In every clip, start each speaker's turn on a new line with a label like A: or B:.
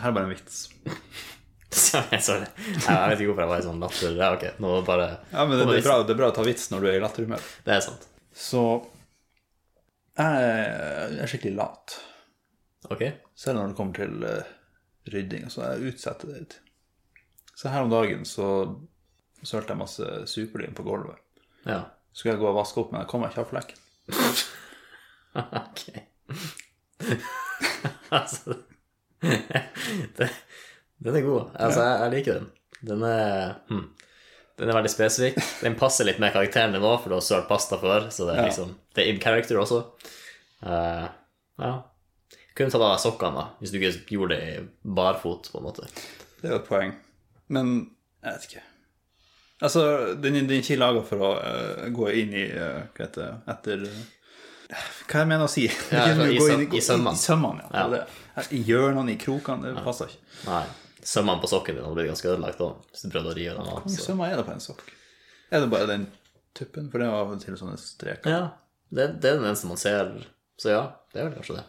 A: Her er bare en vits.
B: Så jeg, så, jeg, jeg vet ikke hvorfor jeg var i sånn latter. Ja, ok, nå bare
A: Ja, men det, det, er bra, det er bra å ta vits når du er i latterhumør.
B: Det er sant.
A: Så jeg er skikkelig lat.
B: Ok.
A: Selv når det kommer til eh, rydding, så jeg utsetter det litt. Så her om dagen så sølte jeg masse superlim på gulvet.
B: Ja.
A: Skulle jeg gå og vaske opp, men jeg kom meg ikke av flekken.
B: Ok. altså det, Den er god. Altså, jeg, jeg liker den. Den er hm. Den er veldig spesifikk. Den passer litt med karakteren din òg, for du har sølt pasta før, så det er
A: Ja.
B: liksom Det er in character også. Eh, ja. Kunne tatt av deg sokkene, da, hvis du ikke gjorde det i barfot, på en måte.
A: Det er jo et poeng. Men jeg vet ikke. Altså, den, den er ikke laga for å eh, gå inn i eh, Hva heter det Etter eh, Hva jeg mener å si? Ikke
B: Ja, altså,
A: gå inn
B: i søm-
A: gå
B: i sømmene.
A: I sømmene, ja.
B: Ja.
A: Det er det. I hjørnene, i krokene. Det passer ikke.
B: Nei. Sømmene på sokken din hadde blitt ganske ødelagt da, hvis du prøvde å rive dem av.
A: Hvor mange
B: Så.
A: sømmer er det på en sokk? Er det bare den tuppen? For det er av og til sånne streker.
B: Ja, det, det er den eneste man ser. Så ja, det er vel kanskje det.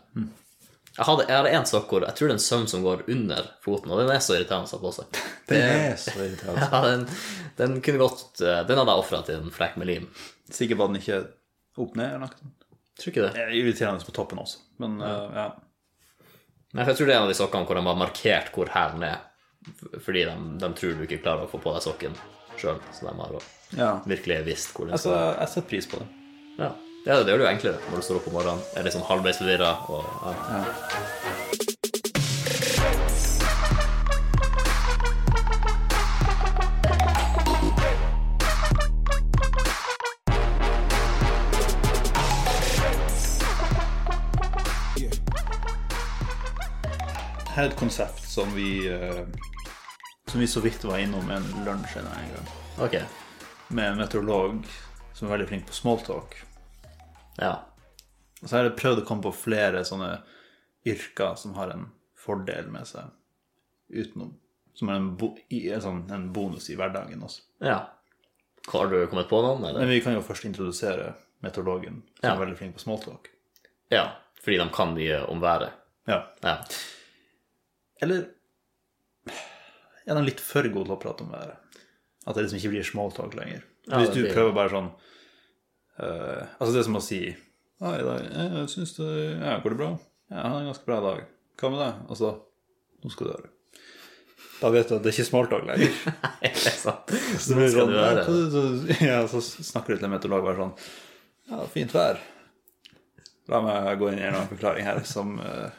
B: Jeg hadde, jeg hadde en sokk hvor jeg tror det er en søm som går under foten, og den er så irriterende å ha på seg.
A: Det er så irriterende.
B: Ja, den, den kunne godt eh, Den hadde jeg ofra til en flekk med lim.
A: Sikkert var den ikke opp ned eller noe sånt.
B: Tror ikke det.
A: Det er Irriterende på toppen også, men eh, ja.
B: Nei, for jeg tror det er en av de sokkene hvor de har markert hvor hælen er, f- fordi de, de tror du ikke klarer å få på deg sokken sjøl, så de har
A: ja.
B: virkelig visst hvor den
A: Altså,
B: skal.
A: jeg setter pris på det.
B: Ja. ja, det gjør det jo enklere når du står opp om morgenen, er litt sånn halvveis forvirra og ja.
A: Her er et konsept som vi eh, Som vi så vidt var innom en lunsj en gang,
B: Ok.
A: med en meteorolog som er veldig flink på smalltalk.
B: Ja.
A: Og så har jeg prøvd å komme på flere sånne yrker som har en fordel med seg utenom. Som er en, bo i, en sånn, en bonus i hverdagen også.
B: ja. Har du kommet på noen, eller?
A: Men vi kan jo først introdusere meteorologen, som
B: Ja.
A: er veldig flink på smalltalk.
B: Ja, fordi de kan mye om været.
A: Ja.
B: Ja.
A: Eller er de litt for gode til å prate om været? At det liksom ikke blir smalltalk lenger.
B: Ja,
A: Hvis
B: det
A: du
B: blir-
A: prøver bare sånn eh, Altså, det er som å si Ja, i dag eh, jeg syns det ja, går det bra? Ja, jeg har en ganske bra dag. Hva med deg? Og så Nå skal du høre. Da vet du at det er ikke smalltalk lenger.
B: Er det sant?
A: Så
B: Nå
A: blir det
B: skal
A: sånn,
B: du
A: ja,
B: høre.
A: hva- så- ja, så snakker du til en meteorolog bare sånn Ja, fint vær. La meg gå inn i en eller annen forklaring her som eh,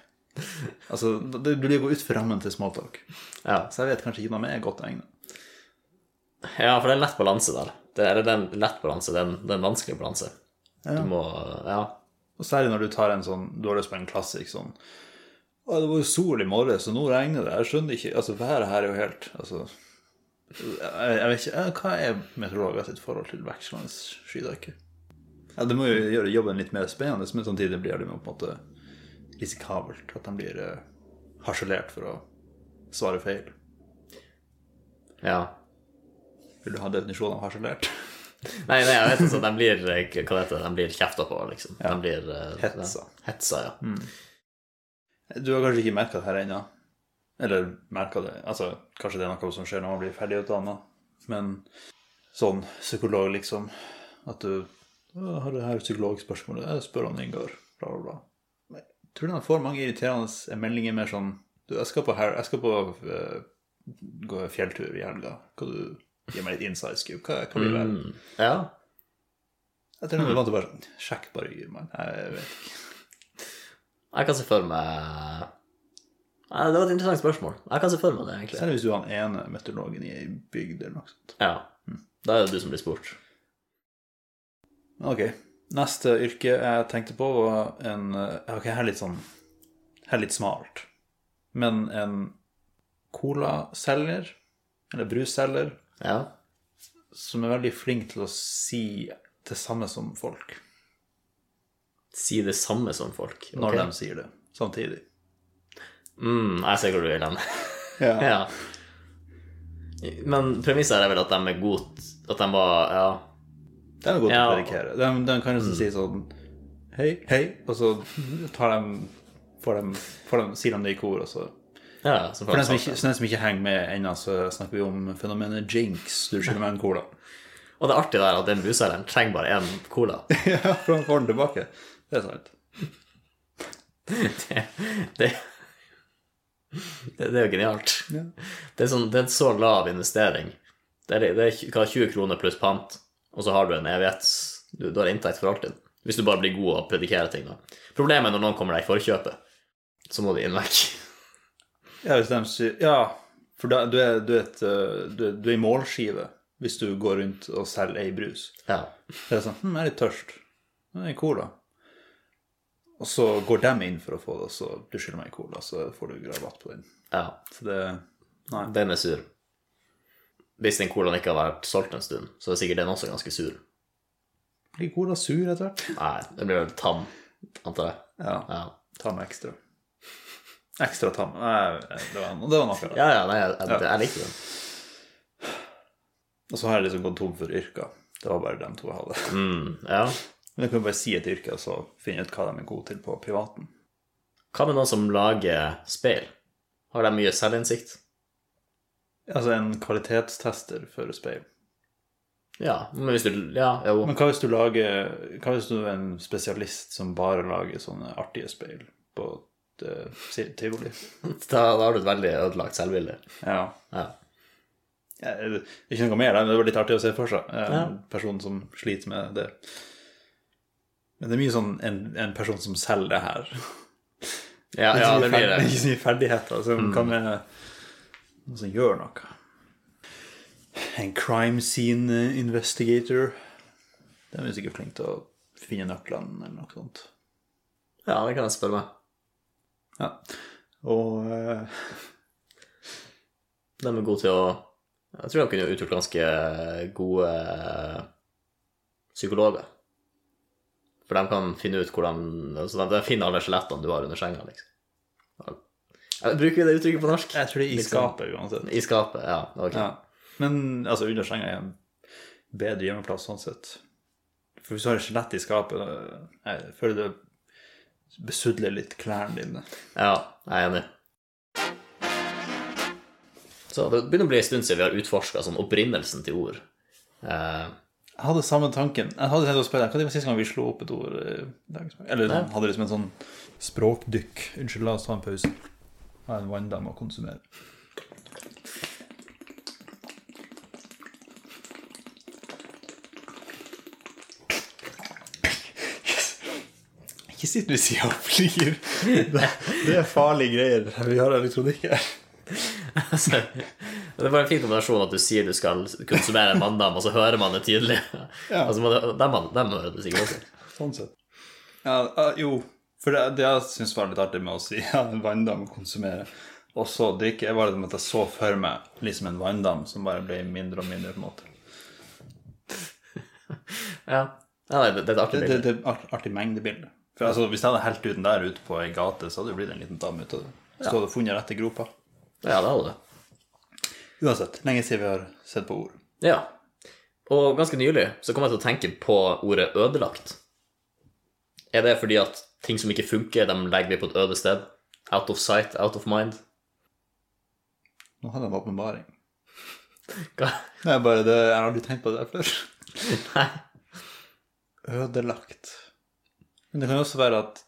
A: Altså, det blir å gå utfor rammen til smalltalk.
B: Ja.
A: Så jeg vet kanskje ikke om jeg er godt egnet.
B: ja, for det er en lett balanse der. Det er, det er en lett balanse, det er en, det er en vanskelig balanse. Du må Ja.
A: Og særlig når du tar en sånn Du har lyst på en klassisk sånn Å, det var jo sol i morges, og nå regner det. Jeg skjønner ikke Altså, været her er jo helt Altså Jeg, jeg vet ikke eh, Hva er meteorologer sitt forhold til vekslende skydekke? Ja, det må jo gjøre jobben litt mer spennende, men samtidig blir det jo på en måte risikabelt at de blir eh, harselert for å svare feil.
B: ja.
A: Vil du ha definisjonen av harselert?
B: Nei, nei, jeg vet altså, de blir eh, Hva heter det? De blir kjefta på, liksom.
A: Ja.
B: De blir eh,
A: Hetsa. Mm.
B: ja, Hetsa, ja.
A: Du har kanskje ikke merka det her ennå? Eller merka det Altså, kanskje det er noe som skjer når man blir ferdigutdanna, men sånn psykolog, liksom. At du «Å, 'Har du her psykologspørsmålet?' Jeg spør han Ingar, bla, bla, bla. Men jeg Tror du han får mange irriterende meldinger mer sånn du, 'Jeg skal på, her, jeg skal på eh, gå fjelltur i helga. Kan du gi meg litt inside scoop? Hva, hva vil det være?'
B: Mm. ja.
A: Jeg tror han er vant til bare sånn 'Sjekk bare, Gyrmann'. Jeg vet ikke.
B: Jeg kan se for meg Nei, Det var et interessant spørsmål. Jeg kan se for meg det, egentlig.
A: Særlig hvis du er han ene meteorologen i ei bygd eller noe sånt.
B: Ja. Da er det du som blir spurt.
A: Ok. Neste yrke jeg tenkte på, var en eh, Ok, her er litt sånn Her er litt smalt. Men en colaselger, eller brusselger,
B: Ja.
A: som er veldig flink til å si det samme som folk
B: Si det samme som folk.
A: når
B: ok?
A: de sier det, samtidig.
B: Mm, jeg ser hvor du vil hen.
A: Ja.
B: ja. Men premisset her er vel at de er gode At de var Ja.
A: De er gode til å
B: Ja.
A: predikere. De, de kan liksom si sånn Hei, hei, og så tar de Får de, får de sier de det i kor, og så
B: Ja, så får
A: For den
B: man
A: som
B: smake.
A: ikke, for den som ikke henger med ennå, så snakker vi om fenomenet jinx. Du skylder meg en cola.
B: Og det artige der er at den busselgeren trenger bare én cola.
A: ja, for han får den tilbake. Det er sant.
B: Det, det, det, det er jo genialt.
A: Ja.
B: Det, er sånn, det er en så lav investering. Det er, det er tj- hva, 20 kroner pluss pant, og så har du en evighets... Du, du har inntekt for alltid. Hvis du bare blir god og predikerer ting. da. Problemet er når noen kommer deg i forkjøpet. Så må du inn vekk.
A: Ja, hvis de sier Ja, for da, du, er, du, er et, eh, du, er, du er i målskive hvis du går rundt og selger ei brus.
B: Ja.
A: Det er sånn hm, jeg er litt tørst. Det er en cola. Og så går de inn for å få det, og så du skylder meg en cola, så får du rabatt på den.
B: ja.
A: Så det Nei.
B: Den er sur. Hvis den colaen ikke har vært solgt en stund, så er sikkert den også ganske sur.
A: Blir cola sur etter hvert?
B: Nei, den blir vel tam, antar jeg.
A: Ja.
B: Ja,
A: Ta med ekstra. Ekstra tam. Nei, det var, det var noe.
B: ja, ja nei, jeg, jeg, jeg liker den.
A: Og så har jeg liksom gått tom for yrker. Det var bare de to jeg hadde.
B: Mm, ja.
A: Men jeg kan bare si et yrke, og så finne ut hva de er gode til på privaten.
B: Hva med noen som lager speil? Har de mye selvinnsikt?
A: Altså en kvalitetstester for speil.
B: Ja, men hvis du Ja, jo.
A: Men hva hvis du lager Hva hvis du er en spesialist som bare lager sånne artige speil på eh, si- tivoli?
B: Da, da har du et veldig ødelagt selvbilde.
A: Ja.
B: Ja.
A: Ja, Det er ikke noe mer, da, men det var litt artig å se for seg. eh, En
B: Ja.
A: person som sliter med det. Men det er mye sånn en, en person som selger det her.
B: Ja, ja, det blir
A: er
B: det. Mm.
A: ikke så mye ferdigheter. Så hva med noen som gjør noe? En crime scene investigator. De er sikkert flinke til å finne nøklene eller noe sånt.
B: Ja, det kan jeg spørre meg.
A: Ja. Og eh,
B: De er gode til å Jeg tror de kunne utgjort ganske gode eh, psykologer. For de kan finne ut hvordan altså de, de finner alle skjelettene du har under senga, liksom. Ja, Bruker vi det uttrykket på norsk?
A: jeg tror det er i
B: Liksom.
A: skapet uansett.
B: I skapet, ja. Ok.
A: Ja. Men altså, under senga er en bedre hjemmeplass sånn sett. For hvis du har et skjelett i skapet, da- jeg føler det besudler litt klærne dine.
B: Ja, jeg er enig. Så Det begynner å bli en stund siden vi har utforska sånn opprinnelsen til ord. Eh,
A: Jeg hadde samme tanken. Jeg hadde tenkt å spørre deg, Hva var sist gang vi slo opp et ord? eh, dag? Eller sånn, hadde liksom en sånn språkdykk. Unnskyld, la oss ta en pause. Jeg har en vanndam å konsumere. Ikke sitt ved sida av flyr. Det, det er farlige greier. Vi har elektronikk her.
B: altså, det er bare en fin kombinasjon at du sier du skal konsumere en manndam, og så hører man det tydelig.
A: Ja.
B: Altså, man, dem, dem hører du sikkert også.
A: Sånn sett. Ja, ah, jo, for det, det jeg syns var litt artig med å si ja, en vanndam å konsumere, og så drikke, jeg var det at jeg så for meg liksom en vanndam som bare ble mindre og mindre. på en måte.
B: Ja, ja nei, det, det er et artig
A: Det, det,
B: bilde.
A: det er et art, artig mengdebilde. For altså, Hvis jeg hadde helt ut den der ute på ei gate, så hadde det blitt en liten dam ut av det. Så hadde jeg funnet rett i gropa.
B: Ja, det hadde du.
A: Uansett, lenge siden vi har sett på ord.
B: Ja. Og ganske nylig så kom jeg til å tenke på ordet ødelagt. Er det fordi at ting som ikke funker, dem legger vi på et øde sted? Out of sight, out of mind?
A: Nå hadde jeg en åpenbaring.
B: Hva?
A: Det er bare det, Jeg har aldri tenkt på det der før.
B: Nei.
A: Ødelagt. Men det kan jo også være at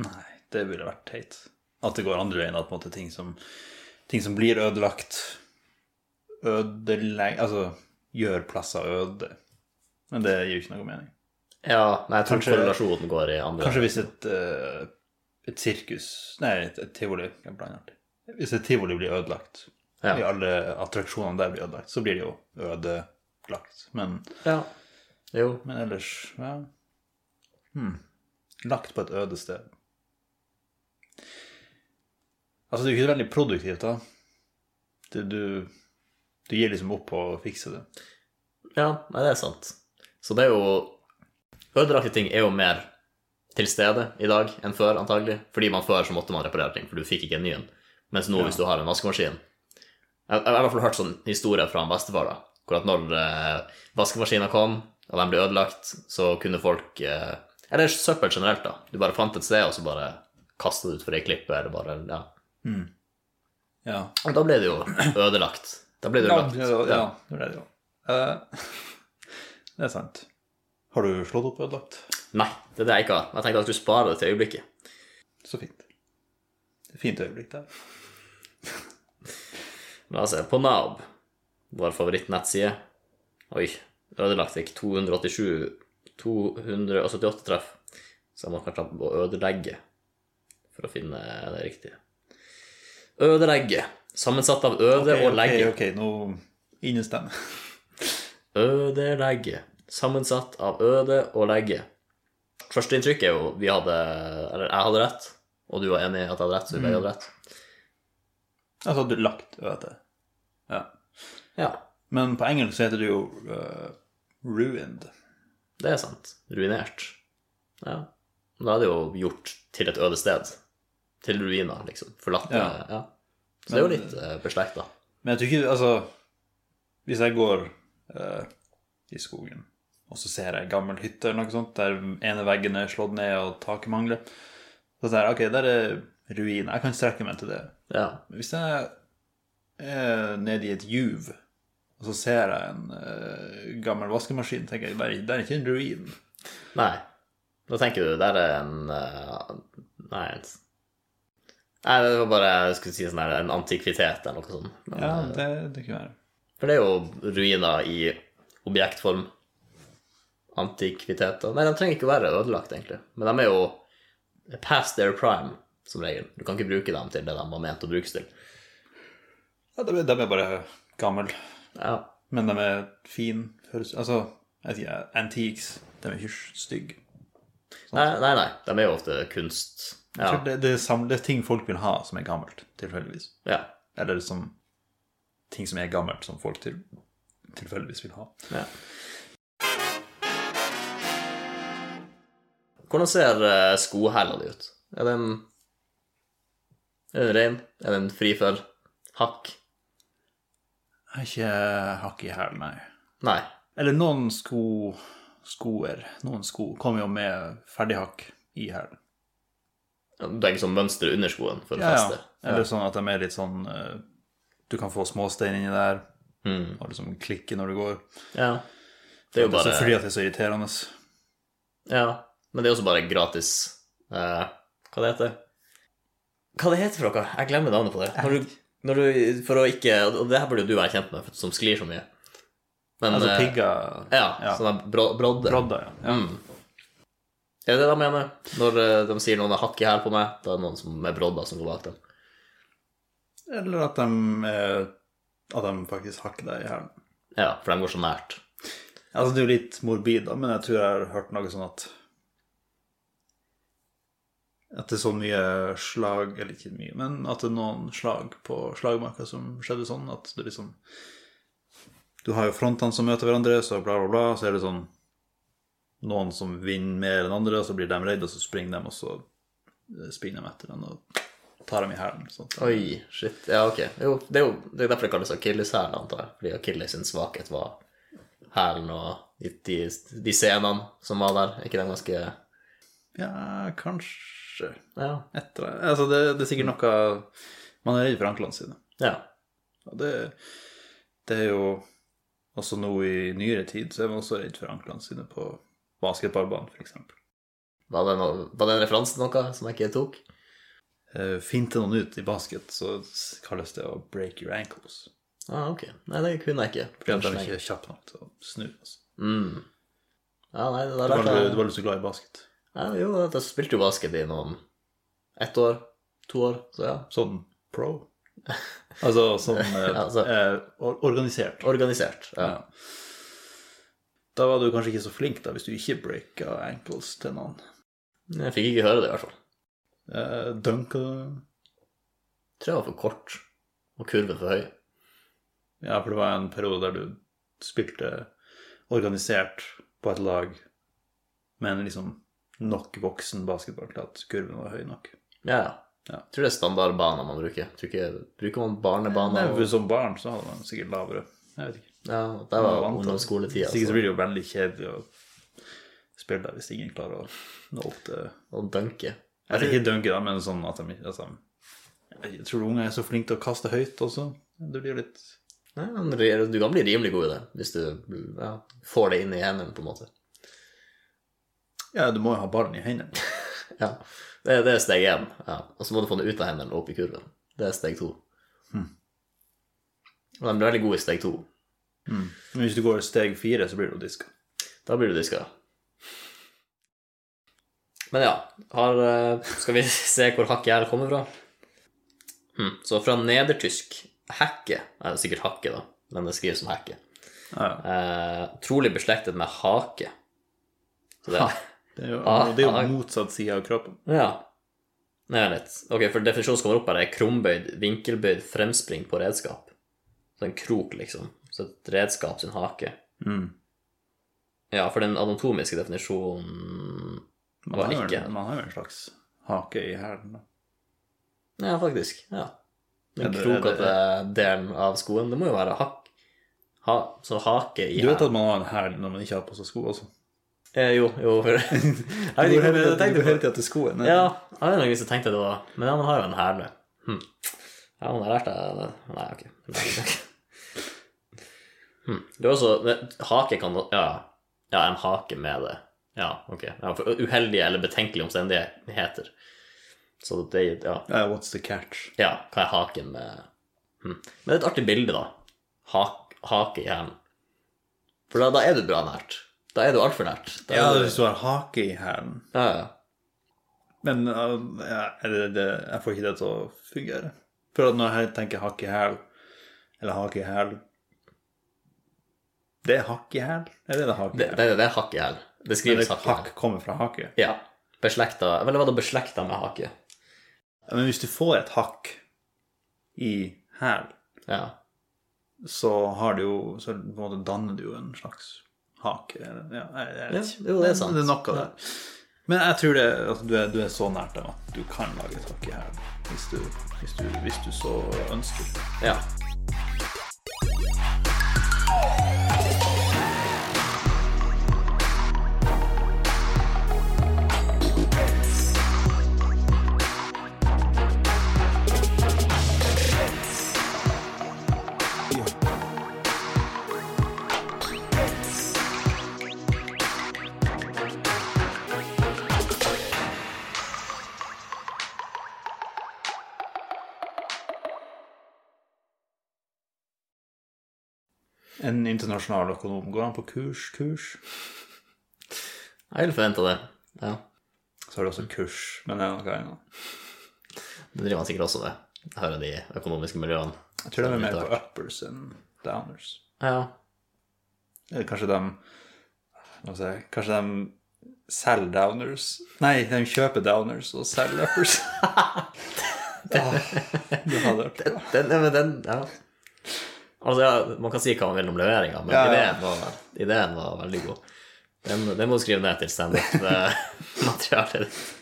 A: Nei, det ville vært teit. At det går andre veien, at på en måte ting som, ting som blir ødelagt Ødelegg... Altså gjør plasser øde. Men det gir jo ikke noe mening.
B: Ja, nei, jeg tror
A: Kanskje-
B: korrelasjonen går i andre
A: Kanskje hvis et, eh, et sirkus Nei, et, et tivoli. Jeg blander alltid. Hvis et tivoli blir ødelagt,
B: Ja.
A: i alle attraksjonene der blir ødelagt, så blir det jo ødelagt. Men
B: Ja. Jo.
A: Men ellers, ja hmm. Lagt på et øde sted. Altså, det er jo ikke veldig produktivt, da. Du, du, du gir liksom opp på å fikse det.
B: Ja, nei, det er sant. Så det er jo Ødelagte ting er jo mer til stede i dag enn før, antagelig. Fordi man før så måtte man reparere ting, for du fikk ikke en ny en. Mens nå, hvis du har en vaskemaskin Jeg, jeg har i hvert fall hørt sånn historier fra en bestefar, da. Hvor at når eh, vaskemaskina kom, og den ble ødelagt, så kunne folk eh, Eller søppel generelt, da. Du bare fant et sted, og så bare kastet det ut for ei klippe, eller bare ja,
A: Ja.
B: Og da ble det jo ødelagt. Da ble det
A: Ja,
B: ødelagt.
A: ja, ja, det er det jo. Eh, det er sant. Har du slått opp ødelagt?
B: Nei, det er det jeg ikke har. Jeg tenkte at jeg skulle spare det til øyeblikket.
A: Så fint. Det er et Fint øyeblikk, det.
B: La oss se. På Naub, vår favorittnettside Oi, ødelagt fikk 287 278 treff. Så jeg må kanskje ta ødelegge for å finne det riktige. Ødelegge. Sammensatt av øde
A: Ok,
B: og legge.
A: Ok, ok, nå innestemme.
B: Ødelegge. Sammensatt av øde og legge. Førsteinntrykket er jo vi hadde Eller jeg hadde rett, og du var enig i at jeg hadde rett, så vi
A: Mm.
B: begge hadde rett.
A: Altså, hadde du lagt øde. Ja.
B: Ja,
A: Men på engelsk så heter det jo eh, ruined.
B: det er sant. Ruinert. Ja. Men Da er det jo gjort til et øde sted. Til ruiner, liksom. Forlatt. Ja.
A: Ja.
B: Så det er jo
A: Men-
B: litt eh, beslekta.
A: Men jeg tror ikke Altså, hvis jeg går eh, i skogen, og så ser jeg ei gammel hytte eller noe sånt, der ene veggen er slått ned og taket mangler, så sier jeg ok, der er ruin. Jeg kan strekke meg til det.
B: Ja.
A: Men Hvis jeg er nede i et juv, og så ser jeg en eh, gammel vaskemaskin, tenker jeg der, er- der er ikke en ruin.
B: Nei. Da tenker du der er en eh, Nei. en- Nei, det var bare jeg skulle si sånn her, en antikvitet eller noe sånt. Men,
A: Ja,
B: eh,
A: det, det kunne være.
B: For det er jo ruiner i objektform. Antikviteter. Nei, de trenger ikke å være ødelagt, egentlig. Men de er jo past their prime, som regel. Du kan ikke bruke dem til det de var ment å brukes til.
A: Ja, de, er- de er bare gamle.
B: Ja.
A: Men de er fine. Høres, altså, jeg sier antiques. De er ikke stygge.
B: Nei, nei, nei. De er jo ofte kunst. Ja.
A: Det, det, er sam- det er ting folk vil ha som er gammelt, tilfeldigvis.
B: ja.
A: Eller som ting som er gammelt, som folk til, tilfeldigvis vil ha.
B: ja. Hvordan ser eh, skohæla di ut? Er den Er den rein? Er den fri for hakk?
A: Jeg er ikke hakk i hæl, nei.
B: Nei.
A: Eller noen sko skoer, noen sko, kommer jo med ferdighakk i hælen.
B: Det er ikke sånn mønster under skoen for å
A: Ja, ja.
B: feste.
A: Eller sånn at de er litt sånn eh, Du kan få småstein inni der,
B: Mm.
A: og liksom klikke når du går.
B: Ja. Det er
A: Så fordi
B: jo bare
A: at det er så irriterende.
B: Ja. Men det er også bare gratis eh, Hva det heter Hva det heter for noe? Jeg glemmer navnet på det. Når du, når du, for å ikke Og det her burde jo du være kjent med, for- som sklir så mye. Men
A: Altså
B: eh,
A: pigger
B: Ja. Sånne bro, brodder.
A: Brodder, ja.
B: Mm. Er det det de mener? Når eh, de sier noen har hakk i hæl på meg, da er det noen som med brodder som går bak dem.
A: Eller at de, eh, at de faktisk hakker deg i hælen.
B: Ja, for de går så nært.
A: Altså, det er jo litt morbid, da, men jeg tror jeg har hørt noe sånn at At det er så mye slag Eller ikke mye, men at det er noen slag på slagmarka som skjedde sånn at det liksom Du har jo frontene som møter hverandre, så bla, bla, bla, så er det sånn Noen som vinner mer enn andre, og så blir de redde, og så springer de, og så eh, springer de etter den og tar dem i hælen. sånn.
B: Oi, shit. Ja, ok. Jo, det er jo det er derfor det kalles akilleshæl, antar jeg. Fordi akilles sin svakhet var hælen og de, de, de scenene som var der. Er ikke den ganske
A: Ja, kanskje
B: Ja.
A: Etter det. Altså, det, det er sikkert noe Man er redd for anklene sine.
B: ja.
A: Ja, det, det er jo også nå i nyere tid så er man også redd for anklene sine på basketballbanen, f.eks.
B: Var det, no, var det en referanse til noe som jeg ikke tok?
A: Finte Eh, noen ut i basket, så s- kalles det å break your ankles.
B: Ah, ok. Nei, det kunne jeg ikke.
A: Fordi at
B: Kanskje
A: de er
B: jeg-
A: ikke kjappe nok til å snu. Altså.
B: Mm. Ja, nei, det
A: Du,
B: der
A: var,
B: lærte
A: du
B: jeg
A: var litt så glad i basket.
B: ja, Jo, jeg spilte jo basket i noen ett år, to år, så ja.
A: Sånn pro. Altså sånn eh,
B: Altså-
A: eh, or- organisert.
B: Organisert. Ja.
A: Ja. Da var du kanskje ikke så flink da, hvis du ikke breaka ankles til noen.
B: Jeg fikk ikke høre det, i hvert fall.
A: Eh, Dunka
B: Tror jeg var for kort, og kurven for høy.
A: Ja, for det var en periode der du spilte organisert på et lag, men liksom nok voksen basketball til at kurven var høy nok.
B: Ja, ja.
A: Ja.
B: Jeg tror det er standardbaner man bruker. Jeg Tror ikke, bruker man barnebaner?
A: Nei,
B: og-
A: for Som barn så hadde man sikkert lavere. Jeg vet ikke.
B: Ja, det var ungdomsskoletida.
A: Sikkert så
B: Altså.
A: blir det jo veldig kjedelig å spille der hvis ingen klarer å nå opp til
B: Og dunke. Altså-
A: Eller ikke dunke, da, men sånn at de, at de Jeg tror unger er så flinke til å kaste høyt også. Det blir jo litt
B: Nei, men Du kan bli rimelig god i det hvis du ja, får det inn i hendene, på en måte.
A: Ja, du må jo ha ballen i hendene.
B: Ja, Det, det er steg én. Ja. Og så må du få det ut av hendene og opp i kurven. Det er steg to.
A: Hmm.
B: Og de blir veldig gode i steg to.
A: Mm. Men hvis du går steg fire, så blir du diska.
B: Da blir du diska. Men ja, har, eh, skal vi se hvor hakket her kommer fra? Hm, så fra nedertysk hekke er det sikkert hakke, da, men det skrives som hekke.
A: Ja, ja.
B: Eh, trolig beslektet med hake. Så det,
A: Ha. Det er jo,
B: Ah,
A: det er
B: ah.
A: jo motsatt side av kroppen.
B: ja. Nei, vent litt. Ok, for definisjonen som kommer opp her, er krumbøyd, vinkelbøyd fremspring på redskap. Så en krok, liksom. Så et redskap sin hake.
A: Mm.
B: Ja, for den anatomiske definisjonen
A: Man,
B: Var
A: har jo
B: ikke-
A: en, man har jo en slags hake i hælen. da.
B: Ja, faktisk. Ja. Den
A: Er det-
B: krokete eh, delen av skoen, det må jo være hakk. Ha, så hake i
A: Du vet
B: hælen.
A: at man har en hæl når man ikke har på seg sko også?
B: eh, Jo, jo. For... jeg
A: Du
B: vet
A: går
B: ikke hvorfor
A: hele tiden-
B: jeg
A: du
B: tenkte
A: går
B: på
A: hele tida til skoen.
B: Ja, jeg vet ikke hvis jeg tenkte det var Men ja, man har jo en hæl. Hm. Ja, man har lært deg det. Nei, ok. Nei, ok. Hm. Det er også det- Hake kan ja, ja, en hake med det. Ja, ok. Ja, for uheldige eller betenkelige omstendigheter. Så det Ja.
A: Ja, what's the catch?
B: Ja, hva er haken med hm. Men det er et artig bilde, da. Hak, hake i hælen. For da, da er du bra nært. Da er du altfor nært. Da er
A: Ja,
B: du-
A: hvis du har hake i hælen
B: ja, ja.
A: Men uh, ja, er det, det, jeg får ikke det til å fungere. For at når jeg tenker hakk i hæl, eller hakk i hæl Det er hakk i hæl? Eller er det hakk i
B: Det,
A: hæl?
B: det, det er hakk i hælen. Det
A: Eller
B: skrives hakk i hælen.
A: hakk kommer fra hake.
B: Ja. Beslekta Vel, hva da beslekta med hake?
A: Men hvis du får et hakk i hæl,
B: Ja.
A: så har du jo Så på en måte danner du jo en slags hake. Eller, ja, jeg, jeg,
B: Ja,
A: vet ikke.
B: jo, det er sant.
A: Det er nok av det. Men jeg tror det, altså, du, er, du er så nært dem at du kan lage et hakk i hæl hvis, du- hvis, du- hvis du så ønsker.
B: ja.
A: En internasjonal økonom, går han på kurs, kurs?
B: Jeg ville forventa det. Ja.
A: Så har du også kurs, men det er noe annet.
B: Det driver han sikkert også med. Jeg hører de økonomiske miljøene.
A: Jeg tror de er mer på uppers enn downers.
B: Ja.
A: Eller kanskje de hva skal jeg si, Kanskje de selger downers Nei, de kjøper downers og selger uppers. Ah, det hadde vært bra.
B: Den, ja, men den Ja. Altså, ja, man kan si hva man vil om leveringa, men
A: Ja, ja.
B: ideen, var, ideen var veldig god. Den, den må du skrive ned til standup-materialet ditt.